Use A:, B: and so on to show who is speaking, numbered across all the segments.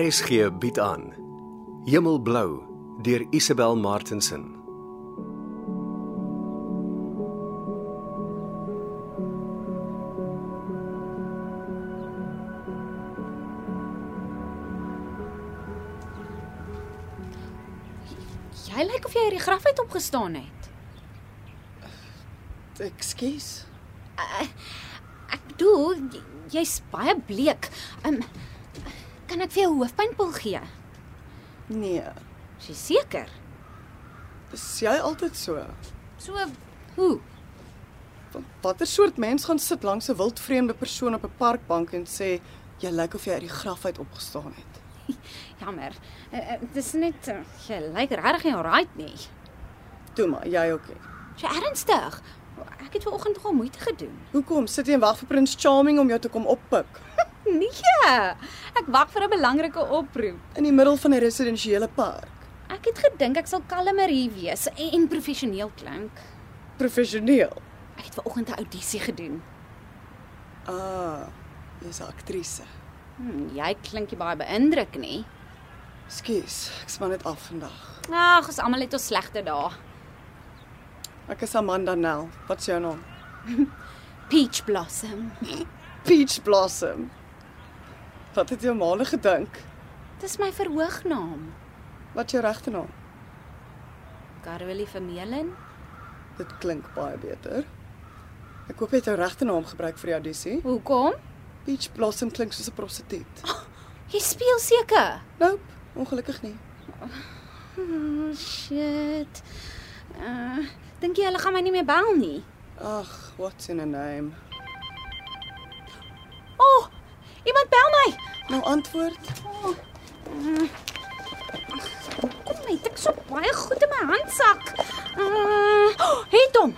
A: RSG bied aan Hemelblou deur Isabel Martensen.
B: Jy lyk of jy uit die graf uit opgestaan het.
C: Ekskuus.
B: Ek bedoel, j- jy's baie bleek. Um kan ek vir jou hoofpynpil gee?
C: Nee,
B: Is jy seker?
C: is jy altyd so?
B: So hoe?
C: Van watter soort mens gaan sit langs 'n wildvreemde persoon op 'n parkbank en sê jy lyk of jy uit die graf uit opgestaan het?
B: Jammer. Eh, eh, Dis net eh, jy lyk regtig nie alright nie.
C: Toe maar, jy ook. nie.
B: Is jy ernstig? Ek het vanoggend nogal moeite gedoen.
C: Hoekom sit jy en wag vir Prins Charming om jou te kom oppik
B: Nee. Ek wag vir 'n belangrike oproep.
C: in die middel van 'n residensiële park?
B: Ek het gedink ek sal kalmer hier wees en, en professioneel klink.
C: Professioneel.
B: Ek het vanoggend 'n audisie gedoen.
C: Ah, jy's 'n aktrise.
B: Hm, jy klink nie baie beïndruk nie.
C: Ekskuus, ek span dit af vandag.
B: Ag, ons almal het ons slegte dae.
C: Ek is Amanda Nel. Wat's jou naam?
B: Peach Blossom.
C: Peach Blossom. Wat het jou maale gedink?
B: Dis my verhoognaam.
C: Wat is jou regte naam?
B: Carolie Vermeulen.
C: Dit klink baie beter. Ek hoop jy het jou regte naam gebruik vir die audisie.
B: Hoekom?
C: Peach Blossom klink soos 'n prostituut.
B: Jy speel seker.
C: Nope, ongelukkig nie.
B: Oh, shit. Uh, dink jy hulle gaan my nie meer bel nie?
C: Ag, what's in a name?
B: O, oh, iemand bel my.
C: Nou antwoord.
B: Kom net, ek so baie goed in my handsak. Uh, oh, het hom.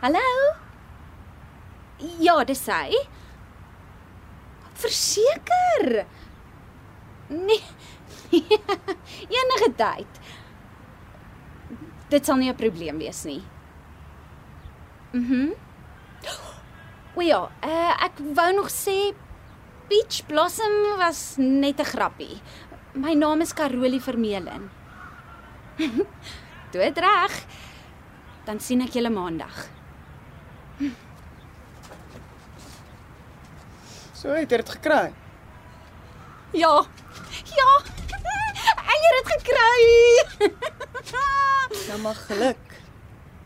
B: Hallo? Ja, dis hy. Verseker. Nee. Enige tyd. Dit sal nie 'n probleem wees nie. Mhm. Mm o ja, uh, ek wou nog sê Peach Blossom was net 'n grappie. My naam is Carolie Vermeulen. Doet reg. Dan sien ek julle maandag.
C: So het jy dit gekry.
B: Ja. Ja. Ek het dit gekry.
C: Nou mag geluk.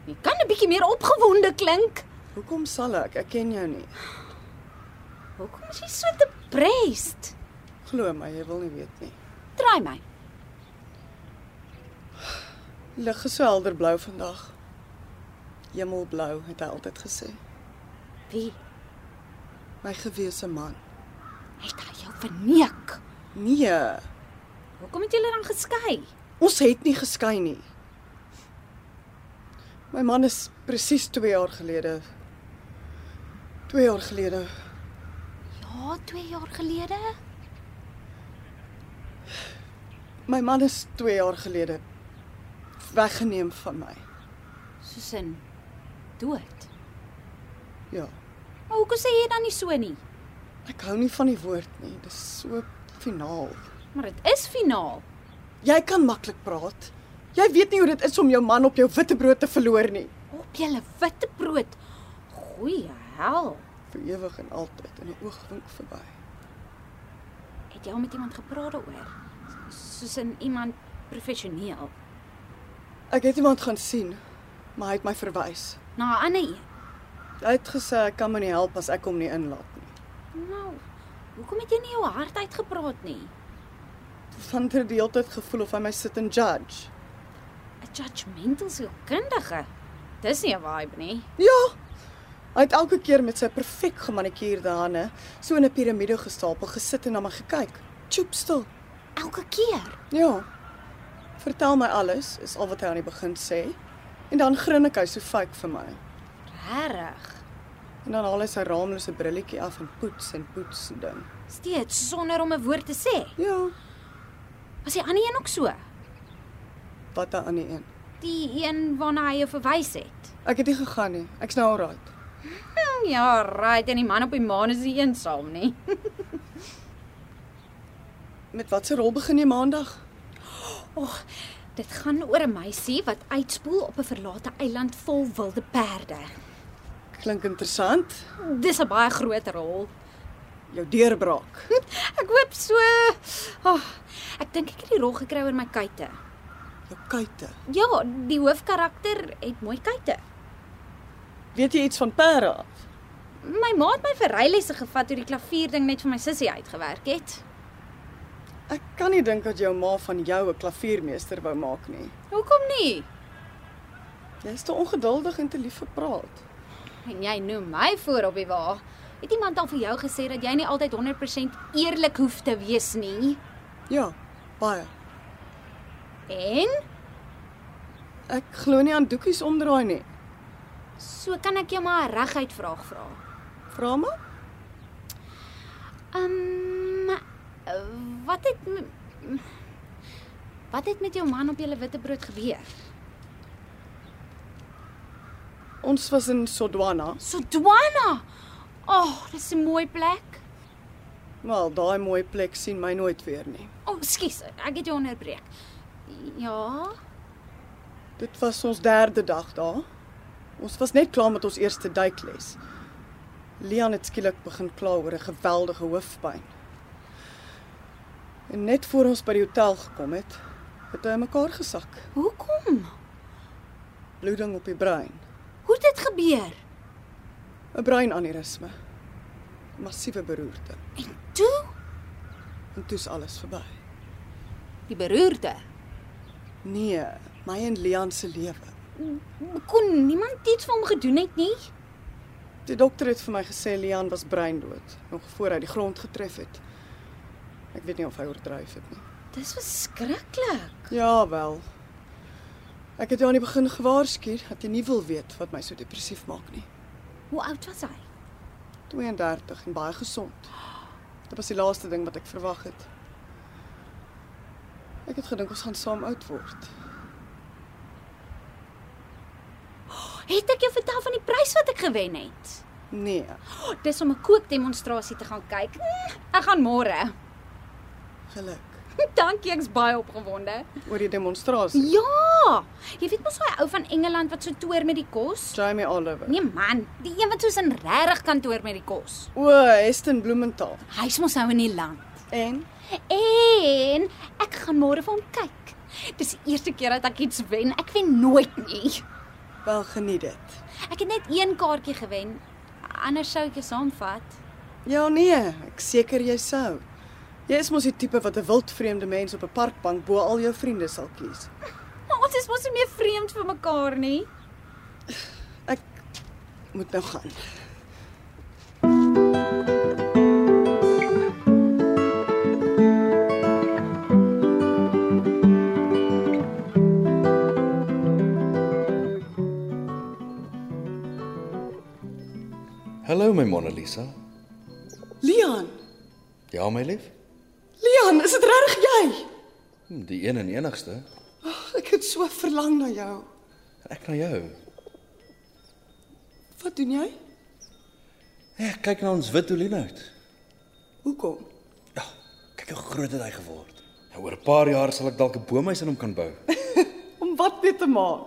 B: Jy kan 'n bietjie meer opgewonde klink.
C: Hoekom sal ek? Ek ken jou nie.
B: Hoekom is jy so depressed?
C: Glo my, jy wil nie weet nie.
B: Draai my.
C: Lig is so helder blou vandag. Hemelblou het hy altyd gesê.
B: Wie
C: My gewese man.
B: het hy jou verneek?
C: Nee,
B: Hoekom het julle dan geskei?
C: ons het nie geskei nie. My man is presies 2 jaar gelede 2 jaar gelede
B: Ja, 2 jaar gelede.
C: My man is 2 jaar gelede weggeneem van my.
B: Soos in dood.
C: Ja.
B: Maar hoekom sê jy dan nie so nie?
C: Ek hou nie van die woord nie. Dis so finaal.
B: Maar dit is finaal.
C: Jy kan maklik praat. Jy weet nie hoe dit is om jou man op jou witbrood te verloor nie.
B: Op julle witte brood. Goeie hel.
C: Vir ewig en altyd in 'n oogwink verby.
B: Het jy al met iemand gepraat daaroor? Soos in iemand professioneel
C: Ek het iemand gaan sien, maar hy het my verwys.
B: na 'n ander een.
C: Hy het gesê ek kan my nie help as ek hom nie inlaat nie.
B: Nou, hoekom het jy nie jou hart uitgepraat nie?
C: Vander die hele tyd gevoel of hy my sit en judge.
B: 'n judgmental sielkundige. Dis nie 'n vibe nie.
C: Ja. Hy het elke keer met sy perfek gemanikuurde hande so in 'n piramide gestapel gesit en na my gekyk. Choop stil.
B: Elke keer.
C: Ja. Vertel my alles, is al wat hy aan die begin sê. En dan grinnik hy so fake vir my.
B: Regtig.
C: En dan haal hy sy raamlose brilletjie af en poets en poets en ding.
B: Steeds sonder om 'n woord te sê.
C: Ja,
B: Was die ander een ook so?
C: wat dan aan die een.
B: Die een waarna hy jou verwys het.
C: Ek het nie gegaan nie. Ek's nou al right.
B: Hm, Ja, right, en die man op die maan is nie eensaam nie.
C: Met watter rol begin jy maandag?
B: Och, dit gaan oor 'n meisie wat uitspoel op 'n verlate eiland vol wilde perde.
C: Klink interessant.
B: Dis 'n baie groot rol.
C: Jou deurbraak.
B: Ek hoop so. Oh, ek dink ek het die rol gekry oor my kuite.
C: Jou kuite.
B: Ja, die hoofkarakter het mooi kuite.
C: Weet jy iets van perde af?
B: My ma het my vir rylesse gevat toe die klavierding net vir my sussie uitgewerk het.
C: Ek kan nie dink dat jou ma van jou 'n klaviermeester wou maak nie.
B: Hoekom nie?
C: Jy's te ongeduldig en te lief vir praat.
B: En jy noem my voor op die wa. Het iemand al vir jou gesê dat jy nie altyd 100% eerlik hoef te wees nie?
C: Ja, baie.
B: En
C: Ek glo nie aan doekies omdraai nie.
B: so kan ek jou maar 'n reguit vraag vra.
C: Vra maar.
B: Ehm um, wat het m- wat het met jou man op julle witbrood gebeur?
C: Ons was in Sodwana.
B: Sodwana. Oh, dis 'n mooi plek.
C: Wel, daai mooi plek sien my nooit weer nie.
B: O, oh, skus, ek het jou onderbreek. Ja.
C: Dit was ons derde dag daar. Ons was net klaar met ons eerste duikles. Leon het skielik begin kla oor 'n geweldige hoofpyn. En net voor ons by die hotel gekom het, het hy in mekaar gesak,
B: Hoekom?
C: bloeding op die brein,
B: Hoe het dit gebeur?
C: 'n breinaneurysme. Massiewe beroerte.
B: En toe
C: En toe's alles verby.
B: die beroerte.
C: Nee, my en Leon se lewe.
B: Kon niemand iets vir hom gedoen het nie?
C: Die dokter het vir my gesê Lian was breindood nog voor hy die grond getref het. Ek weet nie of hy oordryf het nie.
B: Dis verskriklik.
C: Ja wel. Ek het jou aan die begin gewaarsku dat jy nie wil weet wat my so depressief maak nie.
B: Hoe oud was hy?
C: 32 en baie gesond. Dit was die laaste ding wat ek verwag het. Ek het gedink ons gaan saam oud word.
B: Het ek jou vertel van die prys wat ek gewen het?
C: Nee,
B: Oh, dis om 'n kookdemonstrasie te gaan kyk. Mm, Ek gaan môre.
C: geluk.
B: Dankie, ek's baie opgewonde.
C: Oor die demonstrasie.
B: Ja! Jy weet mos daai ou van Engeland wat so toer met die kos?
C: Jamie Oliver.
B: Nee man, die een wat soos in regtig kantoor met die kos.
C: O, Heston Bloementaal.
B: Hy's mos nou in die land.
C: En
B: En ek gaan môre vir hom kyk. Dis die eerste keer dat ek iets wen. Ek wen nooit nie.
C: wel geniet dit.
B: Ek het net een kaartjie gewen. Anders sou ek jou saamvat.
C: Ja nee, ek seker jy sou. Jy is mos die tipe wat 'n wildvreemde mens op 'n parkbank bo al jou vriende sal kies.
B: Maar ons is mos nie meer vreemd vir mekaar nie.
C: Ek moet nou gaan.
D: Hallo my Mona Lisa.
C: Leon,
D: Ja my lief.
C: Leon, is dit regtig jy?
D: Hm, Die een en enigste.
C: Ag, Ek het so verlang na jou.
D: En Ek na jou.
C: Wat doen jy?
D: Ek kyk na ons wit olienout.
C: Hoekom?
D: Ja, kyk hoe groot het hy geword. Nou oor 'n paar jaar sal ek dalk 'n boomhuis aan hom kan bou.
C: Om wat mee te maak?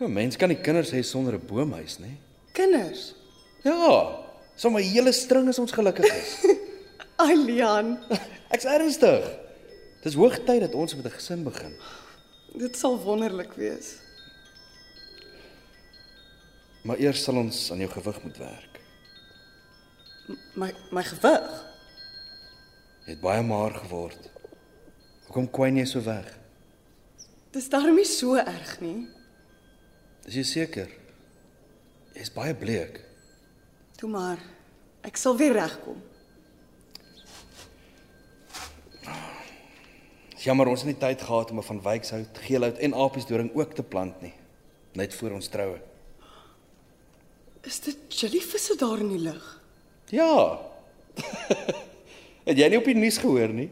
D: 'n Mens kan nie kinders hê sonder 'n boomhuis nie.
C: Kinders.
D: Ja, sommer 'n hele string is ons gelukkig is.
C: Ai Leon,
D: Ek's ernstig. Dis hoogtyd dat ons met 'n gesin begin.
C: dit sal wonderlik wees.
D: Maar eers sal ons aan jou gewig moet werk.
C: My my gewig.
D: Jy het baie maar geword. Hoekom kwyn jy so weg?
C: Dis darmie so erg nie.
D: Is jy seker? Jy's baie bleek.
C: Toe maar. Ek sal weer regkom.
D: Jammer ons het nie tyd gehad om 'n van wykshout, geelhout en apiesdoring ook te plant nie. Net voor ons troue.
C: Is dit jellyvisse daar in die lug?
D: Ja. het jy nie op die nuus gehoor nie?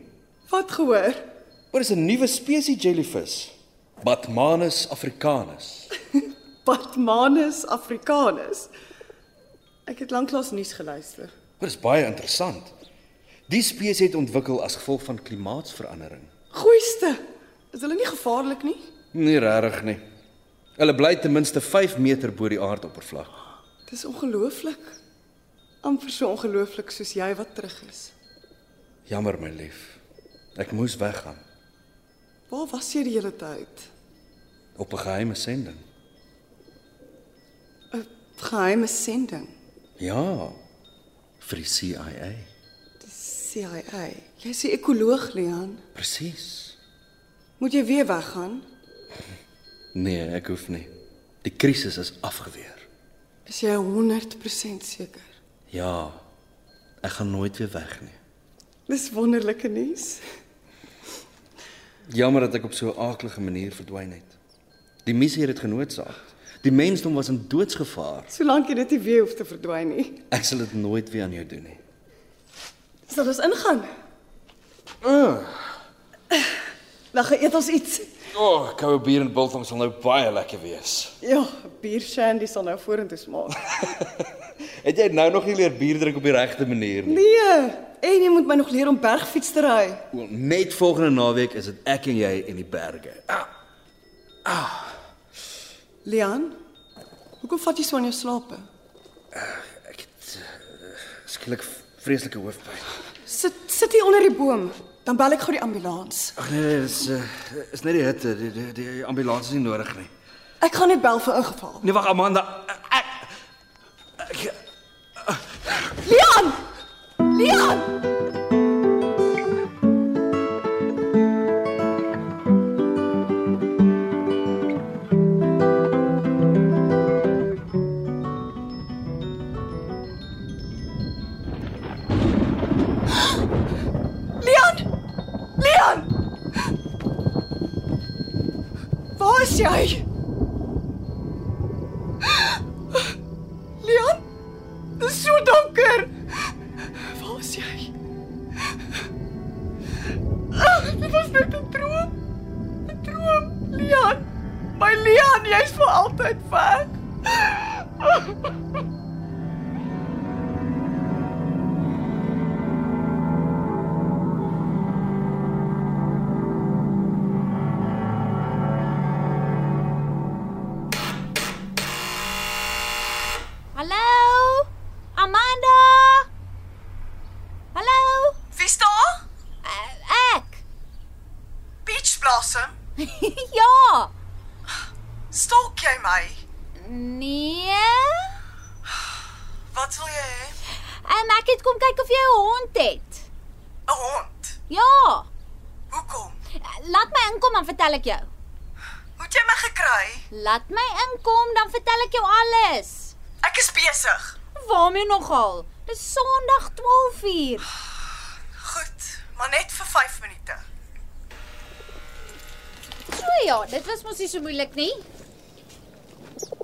C: Wat gehoor?
D: Oor is 'n nuwe spesies jellyvis, Batmanus africanus.
C: Batmanus Africanus. Ek het lanklaas nuus geluister.
D: Dit is baie interessant. Die spesies het ontwikkel as gevolg van klimaatsverandering.
C: Goeiste. Is hulle nie gevaarlik nie?
D: Nee, regtig nie. Hulle bly ten minste 5 meter bo die aardoppervlak.
C: Dis ongelooflik. amper so ongelooflik soos jy wat terug is.
D: Jammer my lief. Ek moes weggaan
C: Waar was jy die hele tyd?
D: op 'n geheime sending.
C: 'n Geheime sending.
D: Ja. vir die CIA.
C: Die CIA. Jy's 'n ekoloog, Leon.
D: Presies.
C: Moet jy weer weggaan?
D: Nee, ek hoef nie. Die krisis is afgeweer.
C: Is jy 100% seker?
D: Ja. Ek gaan nooit weer weg nie.
C: Dis wonderlike nuus.
D: Jammer dat ek op so 'n aaklige manier verdwyn het. Die missie het dit genoodsaak. Die mensdom was in doodsgevaar.
C: Solank jy dit nie weer hoef te verdwyn nie.
D: Ek sal dit nooit weer aan jou doen nie.
C: Sal ons ingaan? Uh. Dan gaan eet ons iets.
D: O, oh, koue bier en biltong sal nou baie lekker wees.
C: Ja, bier shandy sal nou vorentoe smaak.
D: Het jy nou nog nie leer bier drink op die regte manier nie?
C: Nee, en jy moet my nog leer om bergfiets te ry.
D: Wel, Net volgende naweek is dit ek en jy in die berge. Ah,
C: Leon, hoekom vat jy so aan jou slaape?
D: Ek het eh, skielik vreeslike hoofpyn.
C: Sit sit hier onder die boom, dan bel ek gou die ambulans.
D: Ag nee, nee, is eh, is net die hitte. Die, die, die ambulans is nie nodig nie.
C: Ek gaan net bel vir ingeval.
D: Nee, wag Amanda. Ek, ek
C: Leon! Leon! Leon! Leon! Waar is jy? Leon? Dit is so donker. Waar is jy? Ag, Ah, dit was net 'n droom. 'n Droom, Leon. My Leon, jy's vir altyd weg.
B: Hallo? Amanda? Hallo?
C: Wie staan?
B: Eh, Ek.
C: Peach Blossom.
B: ja.
C: Stalk jy my?
B: Nee.
C: Wat wil jy hê?
B: Um, ek het kom kyk of jy 'n hond het.
C: 'n Hond.
B: Ja.
C: Hoekom?
B: Laat my inkom dan vertel ek jou.
C: Hoe het jy my gekry?
B: Laat my inkom dan vertel ek jou alles.
C: Ek is besig.
B: Waarmee nogal? Dis Sondag 12uur.
C: Goed, maar net vir 5 minute.
B: So ja, dit was mos nie so moeilik nie.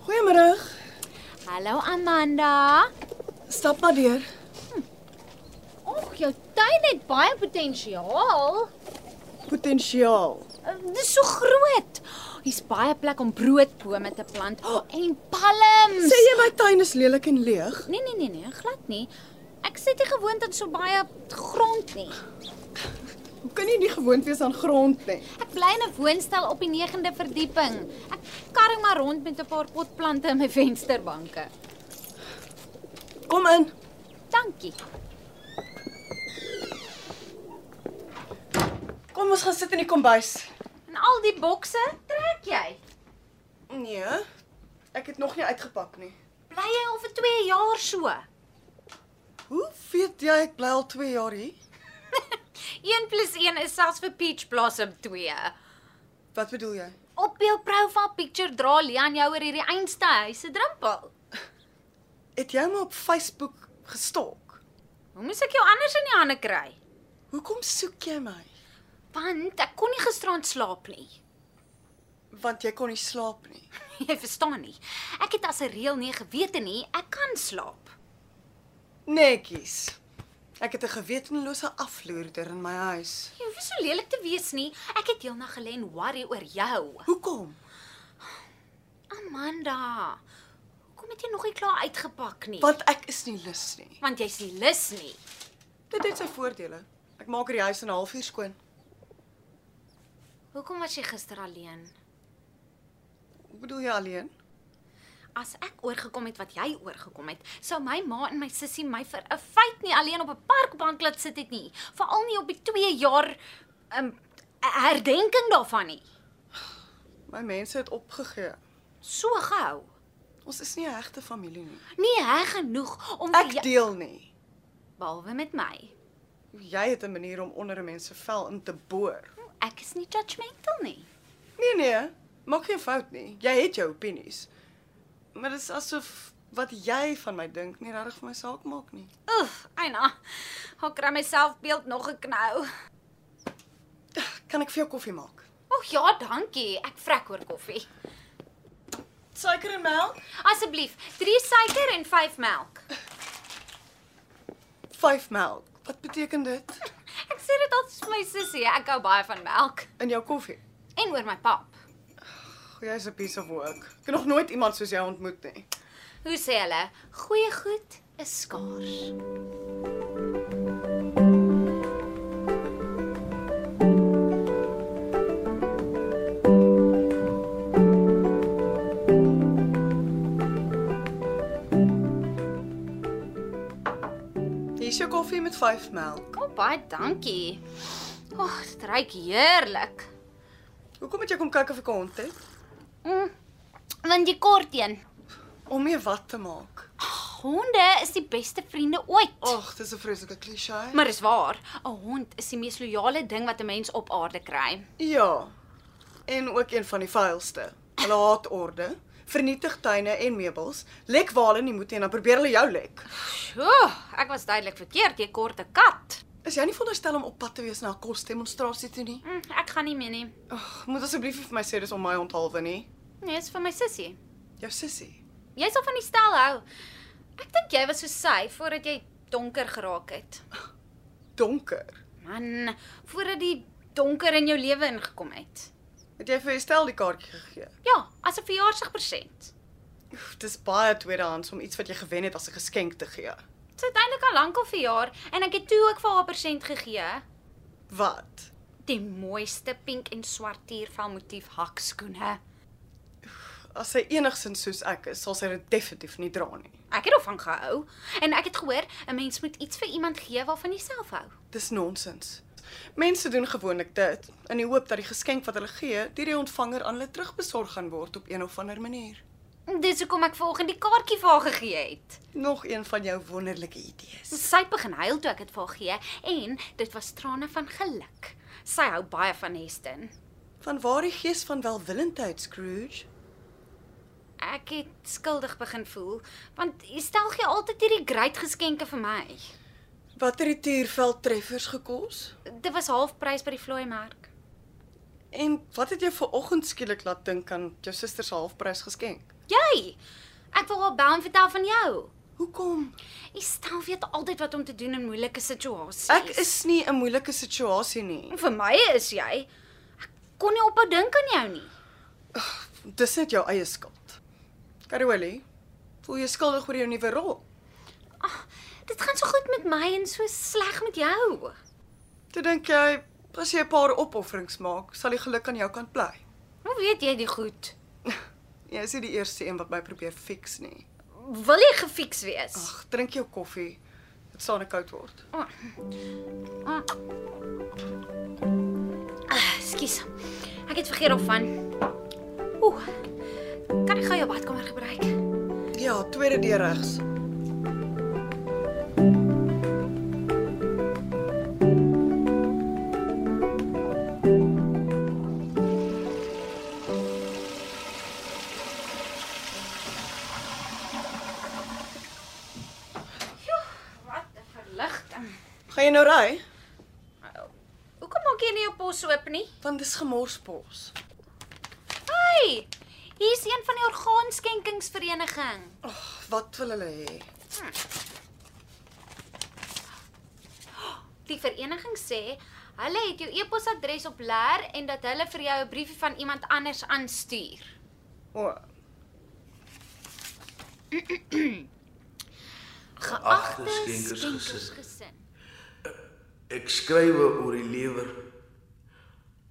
C: Goeiemôre.
B: Hallo Amanda.
C: Stap maar deur.
B: Oeg, jou tuin het baie potensiaal.
C: Potensiaal.
B: Eh, Dis so groot. Hier's baie plek om broodbome te plant oh, en palms.
C: Sê jy my tuin is lelik en leeg?
B: Nee nee nee nee, glad nie. Ek sit nie gewoond aan so baie grond nie.
C: Hoe kan jy nie gewoond wees aan grond nie?
B: Ek bly in 'n woonstel op die 9de verdieping. Ek karring maar rond met 'n paar potplante in my vensterbanke.
C: Kom in.
B: Dankie.
C: Kom ons gaan sit in die kombuis.
B: En al die bokse, trek jy?
C: Nee. Ek het nog nie uitgepak nie.
B: Bly jy al vir 2 jaar so?
C: Hoe weet jy ek bly al 2 jaar hier?
B: 1 + 1 is selfs vir peach blossom 2.
C: Wat bedoel jy?
B: Op jou profile picture dra Lian jou oor hierdie einste huis se drempel.
C: Het jy my op Facebook gestalk?
B: Hoe moet ek jou anders in die hande kry?
C: Hoekom soek jy my?
B: Want ek kon nie gisterand slaap nie.
C: Want jy kon nie slaap nie.
B: Jy verstaan nie. Ek het as 'n reël nie gewete nie, ek kan slaap.
C: Netjies. Ek het 'n gewetenlose afloerder in my huis.
B: Jy hoef nie so lelik te wees nie. Ek het heelnag gelê en worry oor jou.
C: Hoekom?
B: Amanda, hoekom het jy nog nie klaar uitgepak nie?
C: Want ek is nie lus nie.
B: Want jy's nie lus nie.
C: Dit het sy voordele. Ek maak hierdie huis in 'n halfuur skoon.
B: Hoekom was jy gister alleen?
C: Hoe bedoel jy alleen?
B: As ek oorgekom het wat jy oorgekom het, sou my ma en my sussie my vir 'n feit nie alleen op 'n parkbank laat sit het nie, veral nie op die 2 jaar um, herdenking daarvan nie.
C: My mense het opgegee.
B: So gehou.
C: Ons is nie 'n hegte familie nie.
B: Nie reg genoeg om vir
C: Ek
B: jou-
C: deel nie.
B: behalwe met my.
C: Jy het 'n manier om onder 'n mens se vel in te boor.
B: Ek is nie judgmental nie.
C: Nee nee, maak geen fout nie. Jy het jou opinies. Maar dit is asof wat jy van my dink nie regtig vir my saak maak nie.
B: Oef, Eina. Ek kry my selfbeeld nog geknou.
C: Kan ek vir jou koffie maak?
B: O ja, dankie. Ek vrek oor koffie.
C: Suiker en melk?
B: Asseblief, 3 suiker en 5 melk.
C: 5 melk. Wat beteken dit
B: Ek sê dit altyd vir my sussie, ek hou baie van melk
C: in jou koffie?
B: en oor my pap.
C: Goeie, jy's 'n piece of work. Ek het nog nooit iemand soos jou ontmoet nie.
B: Hoe sê hulle? Goeie goed is skaars.
C: Hier's jou koffie met 5 melk.
B: Kom baie dankie. O, oh, dit ruik heerlik.
C: Hoekom het jy kom kyk of ek 'n hond het?
B: Mm, want die kort een.
C: Om mee wat te maak.
B: Honde is die beste vriende ooit.
C: Ag, dis 'n vreeslike klise.
B: Maar dis waar, 'n hond is die mees loyale ding wat 'n mens op aarde kry.
C: Ja. En ook een van die vuilste. Hulle haat orde, vernietig tuine en meubels, lek waar hulle nie moet nie en dan probeer hulle jou lek.
B: Sjoe, ek was duidelik verkeerd, jy kort 'n kat.
C: Is jy nie veronderstel om op pad te wees na 'n kosdemonstrasie toe nie?
B: Mm, ek gaan nie meer nie.
C: Ag, moet asseblief nie vir my sê dis om my onthalwe nie.
B: Nee, dis vir my sussie.
C: Jou sussie.
B: Jy sal van die stel hou. Ek dink jy was so sy voordat jy donker geraak het.
C: Donker.
B: Man, voordat die donker in jou lewe ingekom het.
C: Het jy vir Estel die kaartjie gegee?
B: Ja, as 'n verjaarsdagpresent.
C: Oef, Dis baie tweedehands om iets wat jy gewen het as 'n geskenk te gee.
B: Sy het eintlik al lank al verjaar en ek het toe ook vir haar 'n persent gegee.
C: Wat?
B: Die mooiste pink en swart tiervel motief hakskoene.
C: As sy enigsins soos ek is, sal sy dit definitief nie dra nie.
B: Ek het daarvan gehou en ek het gehoor 'n mens moet iets vir iemand gee waarvan jy self hou.
C: Dis nonsens. Mense doen gewoonlik dit in die hoop dat die geskenk wat hulle gee, deur die ontvanger aan hulle terugbesorg gaan word op een of ander manier.
B: Dis hoekom ek vanoggend die kaartjie vir haar gegee het.
C: Nog een van jou wonderlike idees.
B: Sy het begin huil toe ek dit vir haar gee en dit was trane van geluk. Sy hou baie van Heston.
C: Van waar die gees van welwillendheid, Scrooge?
B: Ek het skuldig begin voel want jy stel gee altyd hierdie great geskenke vir my.
C: Watter het tierveld treffers gekos?
B: Dit was halfprys by die vloei mark.
C: En wat het jou vanoggend skielik laat dink aan jou suster se halfprys geskenk?
B: Jy. Ek wil haar bel en vertel van jou.
C: Hoekom?
B: Jy stel weet altyd wat om te doen in moeilike situasies.
C: Ek is nie 'n moeilike situasie nie.
B: Vir my is jy. Ek kon nie ophou dink aan jou nie.
C: Dis net jou eie skuld. Caroli, voel jy skuldig oor jou nuwe rol?
B: Dit gaan so goed met my en so sleg met jou.
C: Toe dink jy, as jy 'n paar opofferings maak, sal die geluk aan jou kant bly.
B: Hoe weet jy dit goed?
C: Jy is nie die eerste een wat my probeer fix nie.
B: Wil jy gefiks wees?
C: Ag, drink jou koffie. Dit staan ek koud word.
B: Oh. Oh. Ah, skus. Ek het vergeet daarvan. Ooh. Kan ek gou jou badkamer gebruik?
C: Ja, tweede deur regs. Gaan jy nou ry?
B: Hoekom maak jy nie jou pos oop nie?
C: Want dis gemorspos.
B: Hey, hier is een van die orgaanskenkingsvereniging.
C: Ag, wat wil hulle hê?
B: Die vereniging sê hulle het jou e-posadres op leer en dat hulle vir jou 'n briefie van iemand anders aanstuur.
C: O,
B: Geagte
E: skenkers
B: skenkersgesin.
E: Ek skrywe oor die lewer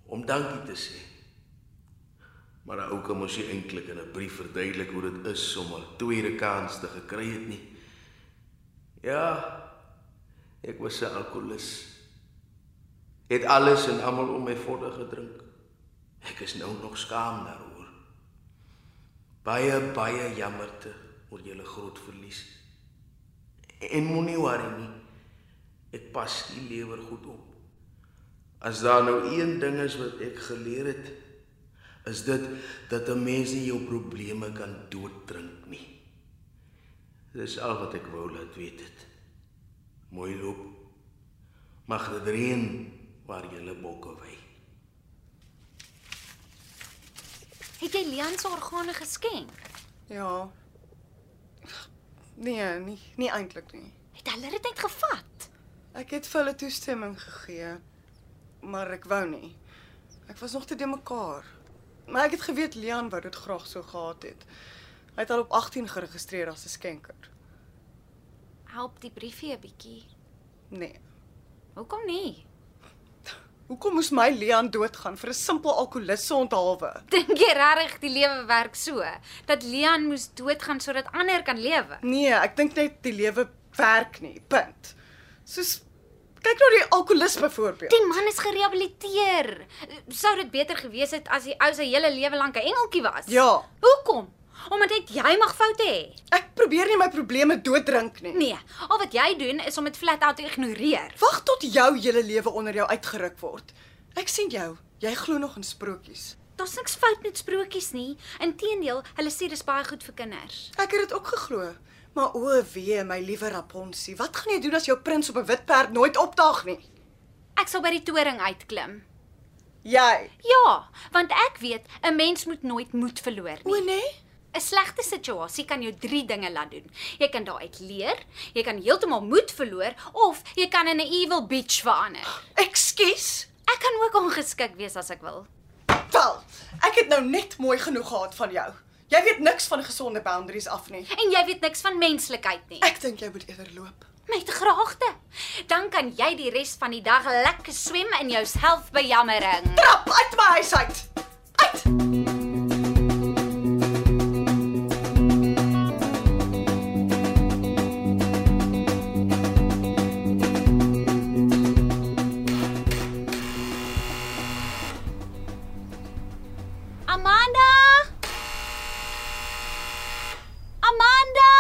E: om dankie te sê. Maar 'n ou kan mos nie eintlik in 'n brief verduidelik hoe dit is om 'n tweede kans te gekry het nie. Ja. Ek was 'n alkolikus. Het alles en almal om my vodde gedrink. Ek is nou nog skaam daaroor. Baie baie jammerte oor julle groot verlies. En moenie worry nie. Ek pas die lewer goed op. As daar nou een ding is wat ek geleer het, is dit dat 'n mens nie jou probleme kan dooddrink nie. Dis al wat ek wou laat weet het. Mooi loop. Mag dit reën waar jy bokke wy.
B: Het jy Leon se organe geskenk?
C: ja. Nee, nie nie eintlik nie.
B: Het hulle dit net gevat?
C: Ek het vir hulle toestemming gegee, maar ek wou nie. Ek was nog te de mekaar. Maar ek het geweet Leon wou dit graag so gehad het. Hy het al op 18 geregistreer as 'n skenker.
B: Help die briefie 'n bietjie.
C: Nee.
B: Hoekom nie?
C: Hoekom moes my Leon doodgaan vir 'n simpel alkoholisse onthaalwe?
B: Dink jy regtig die lewe werk so dat Leon moes doodgaan sodat ander kan lewe?
C: Nee, ek dink net die lewe werk nie. Punt. Soos kyk nou die alkoholis byvoorbeeld.
B: Die man is gerehabiliteer. Sou dit beter gewees het as die ou sy hele lewe lank 'n engeltjie was?
C: Ja.
B: Hoekom? Omdat net jy mag foute hê.
C: Ek probeer nie my probleme dooddrink nie.
B: Nee, al wat jy doen is om dit flat out te ignoreer.
C: Wag tot jou hele lewe onder jou uitgeruk word. Ek sien jou. Jy glo nog in sprokies.
B: Daar's niks fout met sprokies nie. Inteendeel, hulle sê dis baie goed vir kinders.
C: Ek het dit ook geglo. Maar o wee, my liewe Rapunzel, wat gaan jy doen as jou prins op 'n wit perd nooit opdaag nie?
B: Ek sal by die toring uitklim.
C: Jy.
B: Ja, want ek weet 'n mens moet nooit moed verloor
C: O
B: nie.
C: nee.
B: 'n Slegte situasie kan jou 3 dinge laat doen. Jy kan daaruit leer, jy kan heeltemal moed verloor of jy kan in 'n evil bitch verander.
C: Ekskuus.
B: Ek kan ook ongeskik wees as ek wil.
C: Wel, ek het nou net mooi genoeg gehad van jou. Jy weet niks van gesonde boundaries af nie.
B: En jy weet niks van menslikheid nie.
C: Ek dink jy moet eerder loop.
B: Met graagte. Dan kan jy die res van die dag lekker swem in jou selfbejammering.
C: Trap uit my huis uit. Uit.
B: Amanda! Amanda!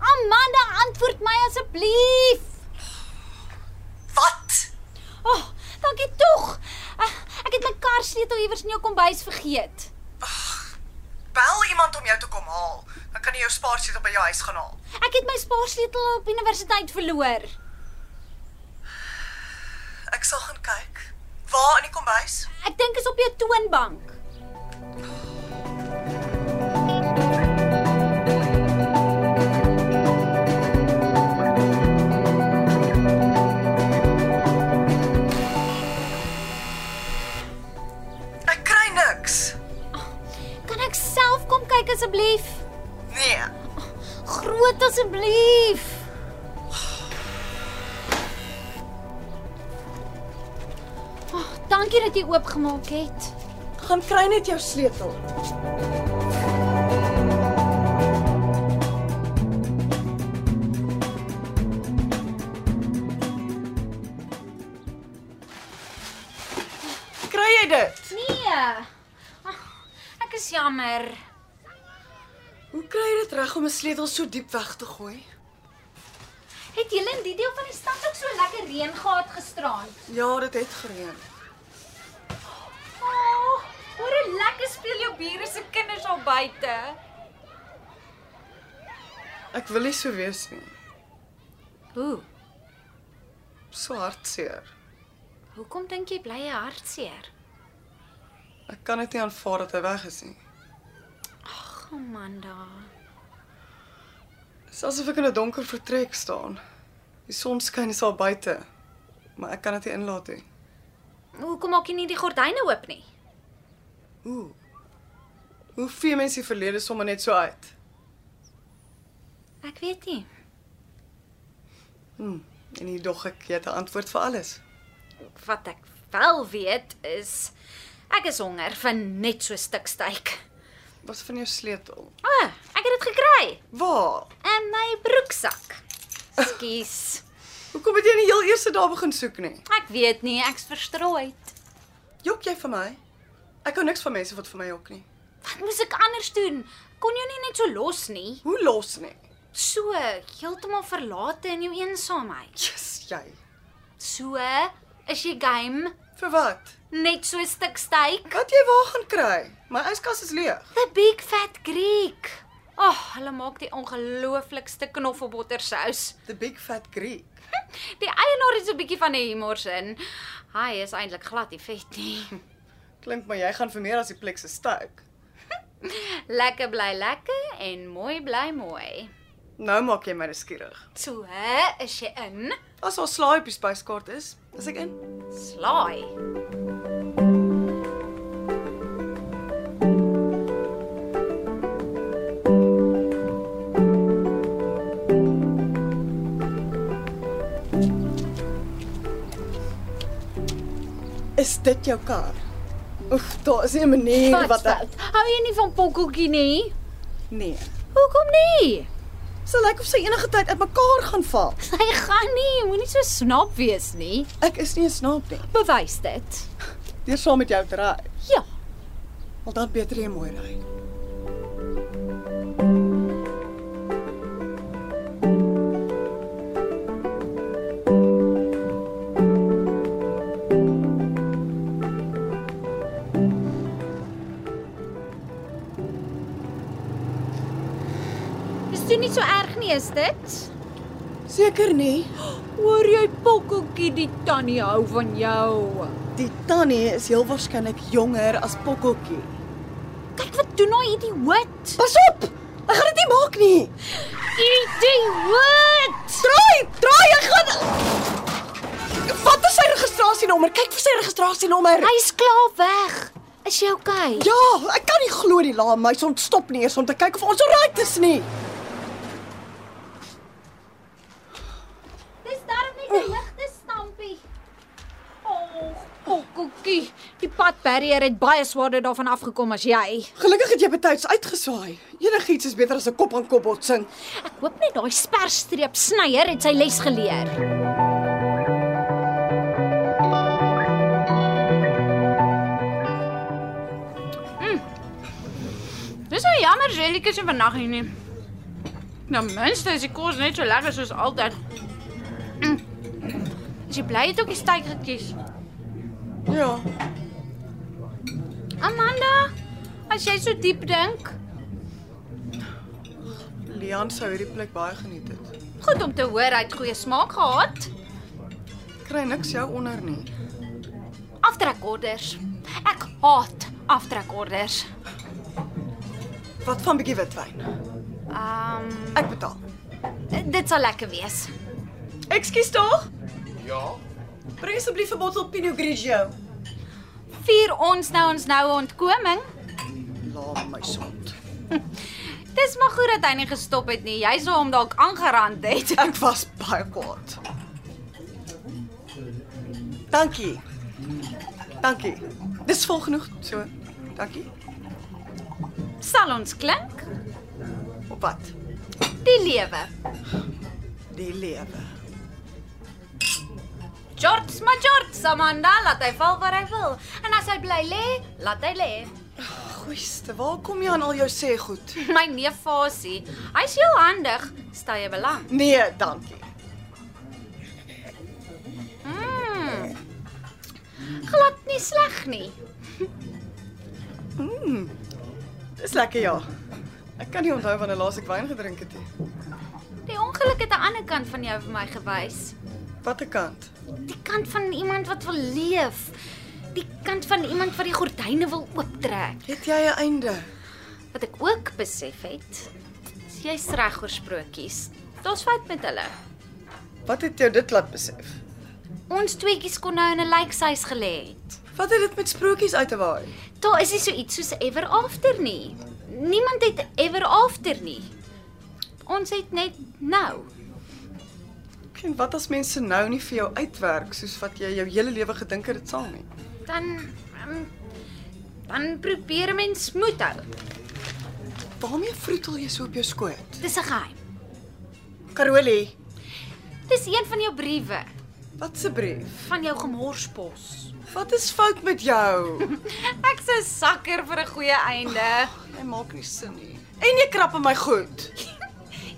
B: Amanda, antwoord my asseblief.
C: Wat?
B: O, oh, dankie tog. Ag, Ek het my kar sleutel iewers in jou kombuis vergeet.
C: Bel iemand om jou te kom haal. Dan kan jy jou spaarsleutel by jou huis gaan haal.
B: Ek het my spaarsleutel op universiteit verloor.
C: Ek sal gaan kyk. Waar in die kombuis?
B: Ek dink is op jou toonbank.
C: Ek kry niks.
B: Kan ek self kom kyk asseblief?
C: Nee.
B: Groot asseblief. Oh, dankie dat jy oopgemaak het.
C: Gaan kry net jou sleutel. Kry jy dit?
B: Nee. Ag, Ek is jammer.
C: Hoe kry jy dit reg om 'n sleutel so diep weg te gooi?
B: Het julle in die deel van die stad ook so lekker reën gehad gisteraan?
C: Ja, dit het gereën.
B: Oh, hoor hoe lekker speel jou bure se kinders al buite.
C: Ek wil nie so wees nie.
B: Hoe?
C: So hartseer.
B: Hoekom dink jy bly hy hartseer?
C: Ek kan dit nie aanvaar dat hy weg is nie.
B: Ag, Amanda.
C: Dit is asof ek in 'n donker vertrek staan. Die son skyn is al buite, maar ek kan dit nie inlaat nie.
B: Hoekom maak jy nie die gordyne oop nie?
C: Hoe? Hoe vee mense die verlede sommer net so uit?
B: Ek weet nie.
C: Hm, en hier dog ek jy het 'n antwoord vir alles.
B: Wat ek wel weet is ek is honger vir net so 'n stuk steak.
C: Wat van jou sleutel?
B: O, oh, ek het dit gekry
C: Waar?
B: in my broeksak. Skus.
C: Hoekom het jy nie heel eers daar begin soek nie?
B: Ek weet nie, ek's verstrooid.
C: Jok jy vir my? Ek hou niks van mense wat vir my jok nie.
B: Wat moes ek anders doen? Kon jou nie net so los nie.
C: Hoe los nie?
B: So heeltemal verlate in jou eensaamheid.
C: Jesus jy.
B: So is jy game
C: Vir wat?
B: net so 'n stuk steak.
C: Wat jy waar gaan kry? My yskas is leeg.
B: The Big Fat Greek. Ag, oh, hulle maak die ongelooflikste knoffelbottersous.
C: The Big Fat Greek.
B: Die eienaar het so 'n bietjie van 'n humor sin. Hy is eintlik glad nie vet nie.
C: Klink maar jy gaan vir meer as die plek se steak.
B: Lekker bly lekker en mooi bly mooi.
C: Nou maak jy my nuuskierig.
B: So, hè, is jy in?
C: As daar slaai op die spyskaart is, is ek in.
B: Slaai.
C: Is dit jou kar? Oef, daar is nie 'n manier wat ek
B: Hou jy nie van pokkeltjie nie?
C: Nee.
B: Hoekom nie?
C: Sy lyk of sy enige tyd uitmekaar gaan val.
B: Hy gaan nie, moenie so snaap wees nie.
C: Ek is nie 'n snaap nie.
B: Bewys dit.
C: Deur saam met jou te ry.
B: Ja.
C: Al dan beter jy mooi ry.
B: Dis toe nie so erg nie, is dit?
C: Seker nie.
B: Hoor jy pokkeltjie die tannie hou van jou.
C: Die tannie is heel waarskynlik jonger as Pokkeltjie.
B: Kyk wat doen daai idioot.
C: Pas op! Ek gaan dit nie maak nie.
B: Idioot.
C: Draai, draai, ek gaan Wat is sy registrasienommer? Kyk vir sy registrasienommer.
B: Hy's klaar weg. Is jy okay?
C: Ja, ek kan nie glo die laam meisie ontstop nie eers om te kyk of ons alright is nie.
B: Dis darm net 'n ligte stampie. Oh, pokkeltjie. Die padbarrier het baie swaarder daarvan afgekom as jy.
C: Gelukkig het jy betyds uitgeswaai. Enigiets is beter as 'n kop aan kop botsing.
B: Ek hoop net daai sperstreep snyer het sy les geleer. Hm. Dis nou jammer Jelike se vannag hier nie. Nou minste is die kos net so lekker soos altyd. Mm. Is jy bly jy het ook die steak gekies?
C: Ja,
B: Amanda, as jy so diep dink,
C: Leon sou hierdie plek baie geniet het.
B: goed om te hoor hy het goeie smaak gehad.
C: Kry niks jou onder nie.
B: Aftrekorders. Ek haat aftrekorders.
C: Wat van bietjie witwyn?
B: Ehm um,
C: Ek betaal.
B: Eh, dit sal lekker wees.
C: Ekskuus tog.
E: Ja,
C: Bring asseblief 'n bottel Pinot Grigio.
B: Vier ons nou ons noue ontkoming.
C: Laat my sond.
B: Dis maar goed dat hy nie gestop het nie. Jy sou hom dalk aangerand het.
C: Ek was baie kwaad. Dankie. Dankie. Dis vol genoeg so. Dankie.
B: Sal ons klink?
C: Op pad.
B: Die lewe.
C: Die lewe.
B: George maar George Samanda laat hy val waar hy wil. En as hy bly lê, laat hy lê.
C: Goeiste, waar kom jy aan al jou sê goed?
B: My neef Fasie, hy's heel handig, stel jy belang.
C: Nee, dankie.
B: Mm. Glad nie sleg nie.
C: Dis lekker ja. Ek kan nie onthou wanneer laas ek wyn gedrink het nie.
B: Die ongeluk het 'n ander kant van jou vir my gewys.
C: Watter kant?
B: Die kant van iemand wat wil leef. Die kant van iemand wat die gordyne wil ooptrek.
C: Het jy 'n einde?
B: Wat ek ook besef het, is jy's reg oor sprokies. Daar's fout met hulle.
C: Wat het jou dit laat besef?
B: Ons tweetjies kon nou in 'n lijkhuis gelê het.
C: Wat het dit met sprokies uit te waai?
B: Daar is nie so iets soos 'n ever after nie. Niemand het 'n ever after nie. Ons het net nou.
C: En wat as mense nou nie vir jou uitwerk soos wat jy jou hele lewe gedink het dit sal nie?
B: Dan um, dan probeer mens moed hou.
C: Waarmee vroetel jy so op jou skoot?
B: Dis 'n geheim.
C: Karolie,
B: Dis een van jou briewe
C: wat 'n brief.
B: van jou gemorspos.
C: Wat is fout met jou?
B: Ek se sakker vir 'n goeie einde.
C: Dit maak nie sin nie. En jy krap in my goed.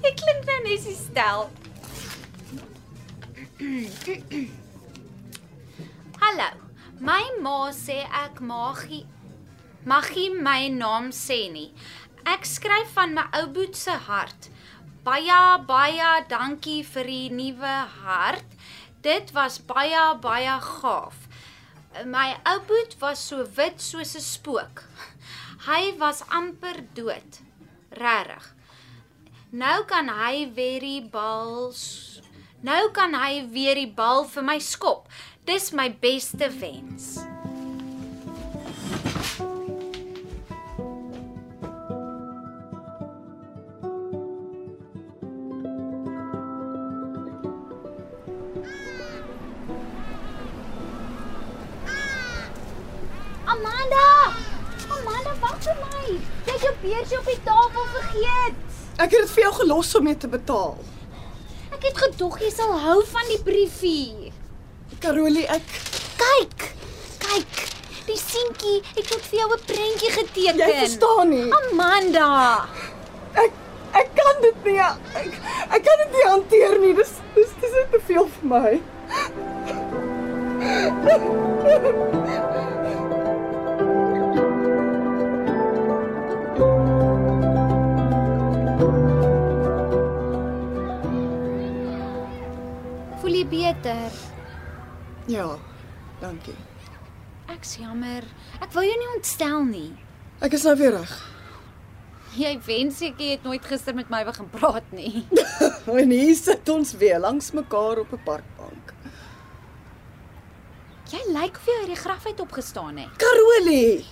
B: Ek klink nou net so stel. Hallo. My ma sê ek magie magie my naam sê nie. Ek skryf van my ou boet se hart. Baie baie dankie vir die nuwe hart. Dit was baie baie gaaf. My ou boet was so wit soos 'n spook. Hy was amper dood. Regtig. Nou kan hy weer die bal s- Nou kan hy weer die bal vir my skop. Dis my beste wens. Amanda! Amanda, wag vir my. Jy het jou beursie op die tafel vergeet.
C: Ek het dit vir jou gelos om mee te betaal.
B: Ek het gedog jy sal hou van die briefie.
C: Karolie, ek
B: Kyk. Kyk. Die seentjie het tot vir jou 'n prentjie geteken.
C: jy verstaan nie.
B: Amanda.
C: Ek ek kan dit nie. Ek ek kan dit nie hanteer nie. Dis dis dis net te veel vir my.
B: Voel jy beter?
C: Ja. Dankie.
B: Ek's jammer. Ek wou jou nie ontstel nie.
C: Ek is nou weer reg.
B: Jy wens ek jy het nooit gister met my begin praat nie.
C: En hier sit ons weer langs mekaar op 'n parkbank.
B: Jy lyk of jy uit die graf uit opgestaan het.
C: Karolie.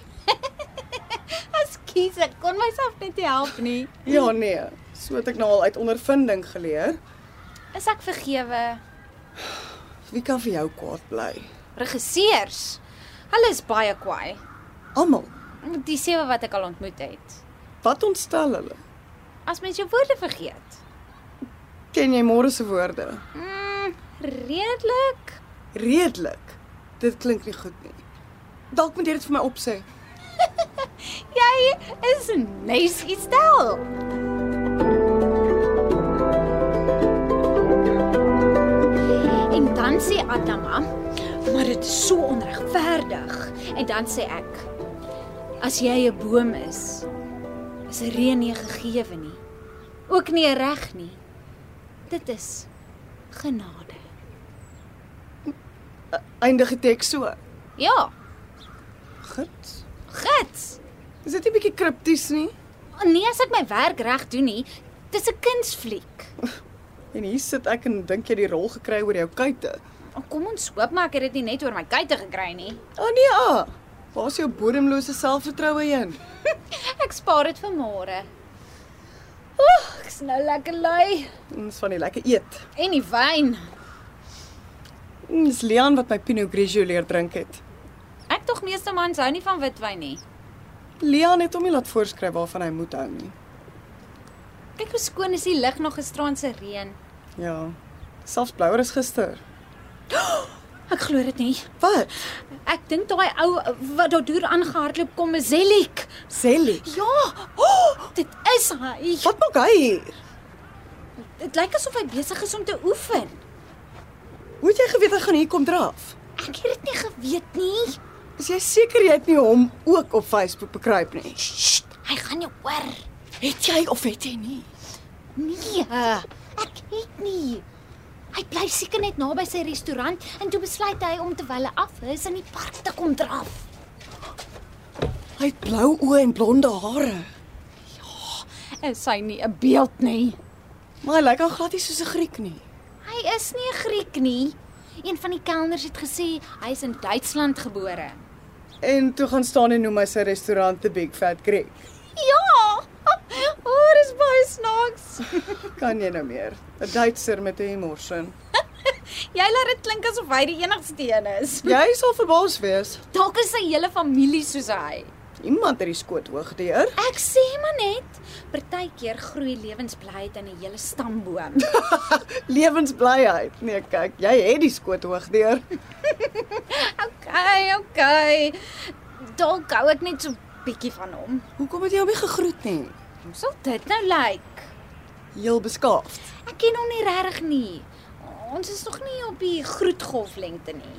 B: Ekskuus, ek kon myself net nie help nie.
C: Ja nee. So het ek nou al uit ondervinding geleer.
B: Is ek vergewe?
C: Wie kan vir jou kwaad bly?
B: Regisseurs. Hulle is baie kwaai.
C: Almal.
B: Die sewe wat ek al ontmoet het.
C: Wat ontstel hulle?
B: As mens jou woorde vergeet.
C: Ken jy môre se woorde?
B: Mm, redelik.
C: Redelik. Dit klink nie goed nie. Dalk moet jy dit vir my opsê.
B: Jy is nice gestel. En dan sê Adama, maar dit is so onregverdig. En dan sê ek, as jy 'n boom is, is 'n reën nie gegeewe nie. Ook nie 'n reg nie. Dit is genade.
C: Eindig die teks so.
B: Ja,
C: Gits.
B: gits.
C: Is dit nie bietjie kripties nie?
B: Nee, as ek my werk reg doen nie, dis 'n kunsfliek.
C: En hier sit ek en dink jy die rol gekry oor jou kuite.
B: Oh, kom ons hoop maar ek het dit nie net oor my kuite gekry nie.
C: Ah nee, ah. Waar's jou bodemlose selfvertroue heen?
B: Ek spaar dit vir môre. Oeg, ek's nou lekker lui
C: Ons van die lekker eet.
B: en die wyn.
C: Mm, Dis Leon wat my Pinot Grigio leer drink het.
B: Ek tog meeste mans hou nie van witwyn nie.
C: Leon het hom nie laat voorskryf waarvan hy moet hou nie.
B: Kyk hoe skoon is die lug nog gisteraan se reën.
C: Ja. Selfs blouer is gister.
B: Ek glo dit nie.
C: Wat?
B: Ek dink daai ou eh, wat daar deur aangehardloop kom is Zelik.
C: Selly.
B: Ja, oh, dit is hy.
C: Wat maak hy hier?
B: Dit lyk asof hy besig is om te oefen.
C: Hoe het jy geweet hy gaan hier kom draf?
B: Ek het dit nie geweet nie.
C: Is jy seker jy het nie hom ook op Facebook bekruip nie?
B: Sst, hy gaan jou hoor.
C: Het jy of het jy nie?
B: Nee. Ek het nie. Hy bly seker net naby sy restaurant en toe besluit hy om terwyl hy af is in die park te kom draf.
C: Hy het blou oë en blonde hare.
B: Is hy nie 'n beeld nie?
C: Maar hy lyk al glad nie soos 'n Griek nie.
B: Hy is nie 'n Griek nie. Een van die kelners het gesê hy is in Duitsland gebore.
C: En toe gaan staan en noem hy sy restaurant The Big Fat Greek.
B: Ja! O, oh, dis baie snaaks.
C: Kan jy nou meer? 'n Duitser met 'n hemorsin.
B: Jy laat dit klink asof hy die enigste een is.
C: Jy sal verbaas wees.
B: Dalk is sy hele familie soos hy.
C: Iemand het die skoot hoog deur.
B: Ek sê maar net, partykeer groei lewensblyheid in 'n hele stamboom.
C: Lewensblyheid. Nee, kyk, jy het die skoot hoog deur.
B: Okay, okay. Dalk hou ek net so bietjie van hom.
C: Hoekom het jy hom nie gegroet nie?
B: Hoe sal dit nou lyk?
C: Heel beskaafd.
B: Ek ken hom nie regtig nie. Ons is nog nie op die groetgolf lengte nie.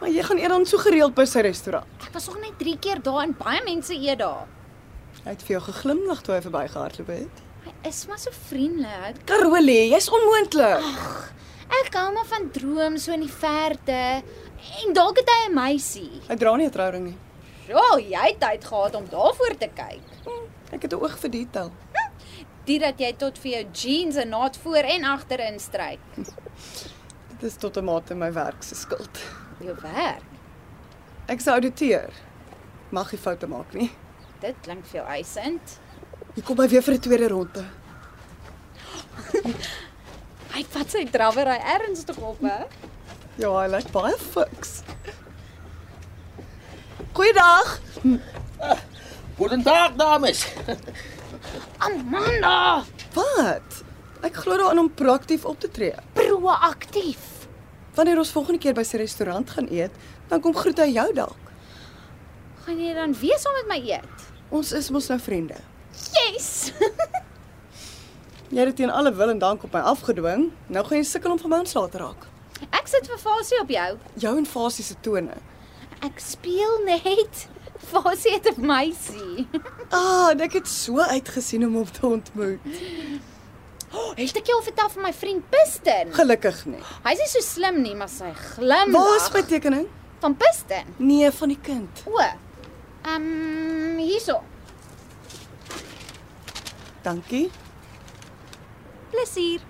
C: Maar jy gaan eendag so gereeld by sy restaurant.
B: Ek was nog net 3 keer daar en baie mense eet daar.
C: Hy het vir jou geglimlag toe hy verbygehardloop het.
B: Hy is maar so vriendelik.
C: Carolie, jy's onmoontlik.
B: Ek hou maar van droom so in die verte en dalk het hy 'n meisie.
C: Hy dra nie 'n trouring nie.
B: Ja, jy het tyd gehad om daarvoor te kyk.
C: Ek het 'n oog vir detail.
B: Dit dat jy tot vir jou jeans 'n naad voor en agter instryk.
C: Dit is tot 'n mate my werk se skuld.
B: Jou werk.
C: Ek se auditeer. Mag nie foute maak nie.
B: Dit klink veel eisend.
C: Hier kom hy weer vir 'n tweede ronde.
B: Hy vat sy drawery ernstig op, hè?
C: Ja, hy lyk baie fiks. Goeiedag.
F: Guten Tag, dames.
B: Amanda,
C: Wat? Ek glo daaraan om proaktief op te tree.
B: proaktief.
C: Wanneer ons volgende keer by sy restaurant gaan eet, dan kom groet hy jou dalk.
B: Gaan jy dan weer saam met my eet?
C: Ons is mos nou vriende.
B: Yes.
C: Jy het dit teen alle wil en dank op my afgedwing. Nou gaan jy sukkel om van my ontslae te raak.
B: Ek sit vir fasie op jou.
C: Jou en Fasie se tone.
B: Ek speel net. Fasie het 'n meisie.
C: Ah, en ek het so uitgesien om hom te ontmoet.
B: Oh, het ek jou al vertel van my vriend Piston?
C: Gelukkig nie.
B: Hy's nie so slim nie, maar sy glimlag.
C: Waar is my tekening?
B: van Piston?
C: Nee, van die kind.
B: O. Ehm um, hierso.
C: Dankie.
B: Plesier.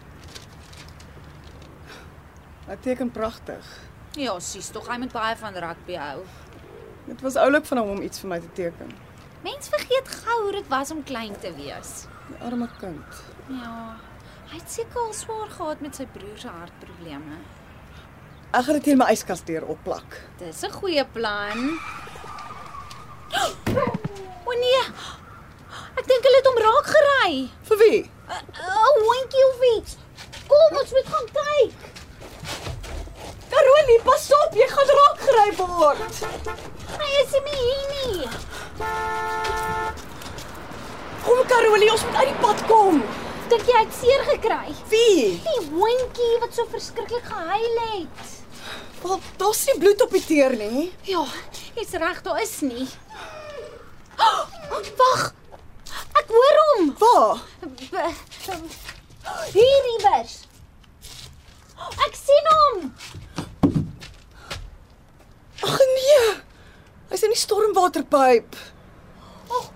C: Ek teken pragtig.
B: Ja, sies tog, hy moet baie van rugby hou.
C: Dit was oulik van hom om iets vir my te teken.
B: Mense vergeet gou hoe dit was om klein te wees.
C: Die arme kind.
B: Ja. Hy het seker al swaar gehad met sy broer se hartprobleme.
C: Ek gaan dit teen my yskas deur opplak.
B: Dis 'n goeie plan. O nee. Ek dink hulle het hom raak gery.
C: Vir wie?
B: 'n uh, Hondjie of iets. Kom ons moet gaan kyk.
C: Carolie, pas op, jy gaan raak gery word.
B: Hy is nie meer hier nie.
C: Kom Carolie, ons moet uit die pad kom.
B: Dink jy hy het seer gekry?
C: Wie?
B: Die hondjie wat so verskriklik gehuil het.
C: Wel, daar's nie bloed op die teer nie.
B: Ja, jy's reg, daar is nie. Oh, Wag. Ek hoor hom.
C: Waar?
B: B- Hier iewers. Ek sien hom.
C: Ag nee. Hy's in die stormwaterpyp.
B: Oh,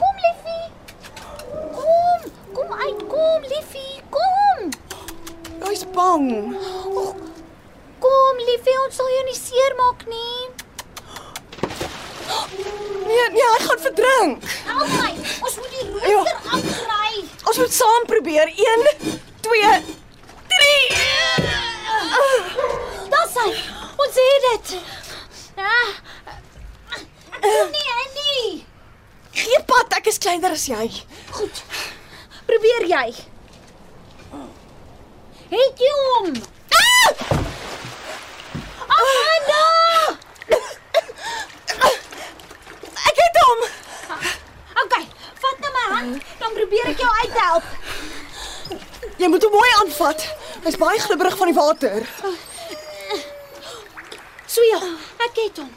B: kom liefie. Kom, kom uit, kom liefie, kom.
C: Hy's bang.
B: Oh, kom liefie, ons sal jou nie seermaak nie.
C: Nee, nee, hy gaan verdrink.
B: Help Nou, my. Ons moet die rooster
C: Ja.
B: afkry.
C: Ons moet saam probeer. 1 2
B: Dis hy. Ons het dit. Ah. Kom nie, Andy.
C: Gee pad, ek is kleiner as jy.
B: Goed. Probeer jy. Het jy hom? Ah! Amanda!
C: Ek het hom.
B: Okay, vat nou my hand, dan probeer ek jou uithelp.
C: Jy moet hom mooi aanvat. Hy's baie glibberig van die water.
B: So ja, ek het hom.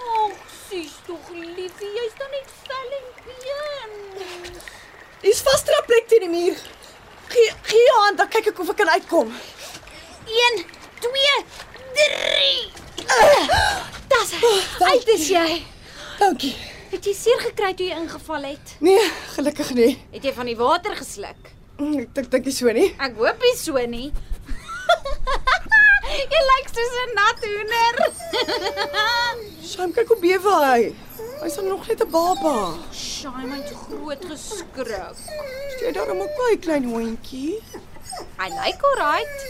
B: Ag, sies tog liefie, jy's dan net vel en been.
C: Hy's vasdrap plek teen die muur. Gee Gee jou hand, dan kyk ek of ek kan uitkom.
B: 1 2 3 Das. Uit Oh, is jy.
C: Dankie.
B: Het jy seer gekry toe jy ingeval het?
C: Nee, gelukkig nie.
B: Het jy van die water gesluk?
C: Mm, Ek dink dink nie so nie.
B: Ek hoop nie so nie. jy lyk soos 'n nat hoender.
C: Sjaim kyk hoe bewe hy. Hy's dan nog net 'n baba.
B: Shaim het groot geskrik.
C: Is jy daarom ook baie klein hondjie?
B: Hy lyk alright.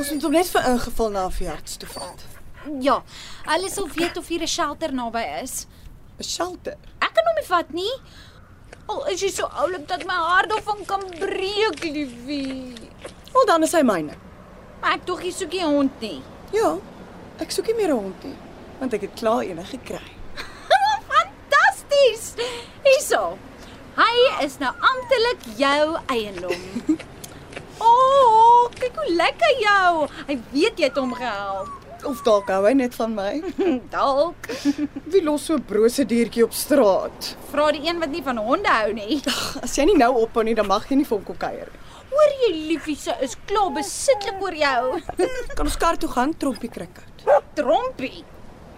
C: Ons moet hom net vir ingeval na 'n verjaards toe vat.
B: Ja, hulle sal weet of hier 'n shelter naby is.
C: 'n Shelter.
B: Ek kan hom nie vat nie. Al is jy so oulik dat my hart daarvan kan breek, liefie.
C: Wel dan is hy myne.
B: Maar ek tog jy soek nie 'n hond nie.
C: Ja. Ek soek nie meer 'n hond nie, want ek het klaar een gekry.
B: Oh, Fantasties. Hyso. Hy is nou amptelik jou eiendom. O, oh, kyk hoe lekker jou. Hy weet jy het hom gehelp.
C: Of dalk hou hy net van my.
B: Dalk
C: Wie los so 'n brose diertjie op straat?
B: vra die een wat nie van honde hou nie.
C: As jy nie nou ophou nie, dan mag jy nie vir hom kom kuier nie.
B: Hoor jy liefie se is klaar besitlik oor jou.
C: Kan ons kar toe gaan, trompie krikkert.
B: Trompie.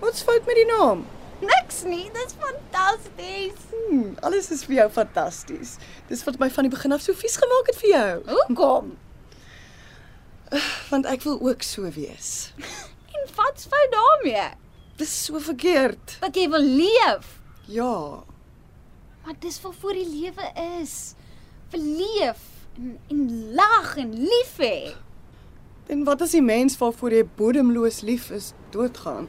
C: Wat's fout met die naam?
B: Niks nie, dis fantasties.
C: Hmm, alles is vir jou fantasties. Dis wat my van die begin af so vies gemaak het vir jou, Eh,
B: Hoekom?
C: want ek wil ook so wees.
B: En wat's fout daarmee?
C: Dis so verkeerd.
B: Dat jy wil leef.
C: Ja,
B: Maar dis wat voor die lewe is. Verleef en en lag en lief hê.
C: en wat as die mens waarvoor jy bodemloos lief is, doodgaan?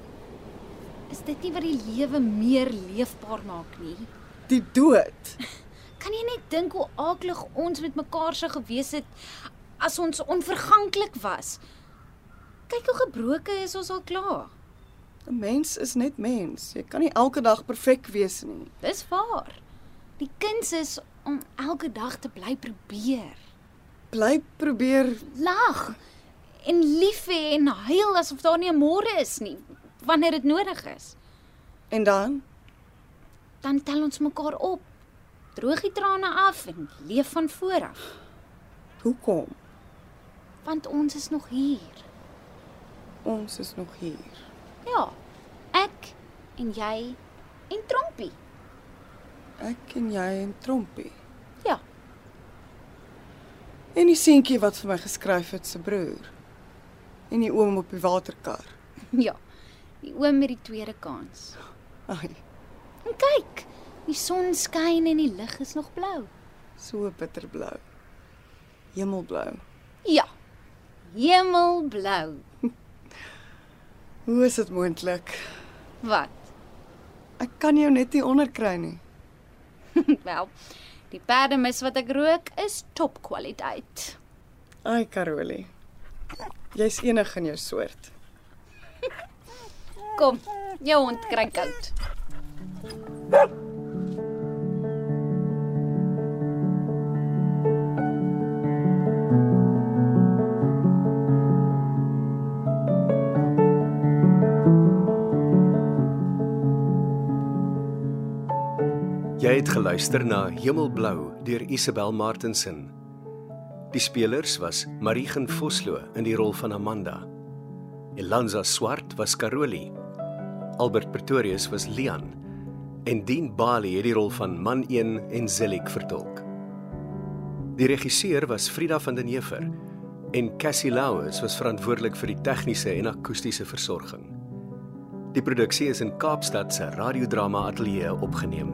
B: Is dit nie wat die lewe meer leefbaar maak nie?
C: Die dood.
B: Kan jy net dink hoe aaklig ons met mekaar sou gewees het as ons onverganklik was? Kyk hoe gebroke is ons al klaar.
C: 'n Mens is net mens. Jy kan nie elke dag perfek wees nie.
B: Dis waar. Die kuns is om elke dag te bly probeer.
C: Bly probeer
B: Lag en lief hê en huil asof daar nie 'n môre is nie wanneer dit nodig is.
C: en dan
B: Dan tel ons mekaar op. Droog die trane af en leef van voor af,
C: hoekom?
B: want ons is nog hier.
C: Ons is nog hier.
B: Ja. Ek en jy en Trompie.
C: Ek en jy en Trompie.
B: Ja.
C: En die seentjie wat vir my geskryf het se broer. En die oom op die waterkar.
B: Ja. Die oom met die tweede kans.
C: Ai,
B: En kyk, die son skyn en die lug is nog blou.
C: so bitterblou. Hemelblou.
B: Ja. Hemelblou.
C: Hoe is dit moontlik?
B: Wat?
C: Ek kan jou net nie onderkry nie.
B: Wel, die perdemis wat ek rook is topkwaliteit.
C: Ai, Carolie. Jy's enig in jou soort.
B: Kom, jou hond kry koud.
A: Jy het geluister na Hemelblou deur Isabel Martensen. Die spelers was Mariegen Vosloo in die rol van Amanda. Elanza Swart was Caroli. Albert Pretorius was Leon en Dean Bali het die rol van Man 1 en Zelik vertolk. Die regisseur was Frida van den Heever en Cassie Louws was verantwoordelik vir die tegniese en akoestiese versorging. Die produksie is in Kaapstad se radiodrama ateljee opgeneem.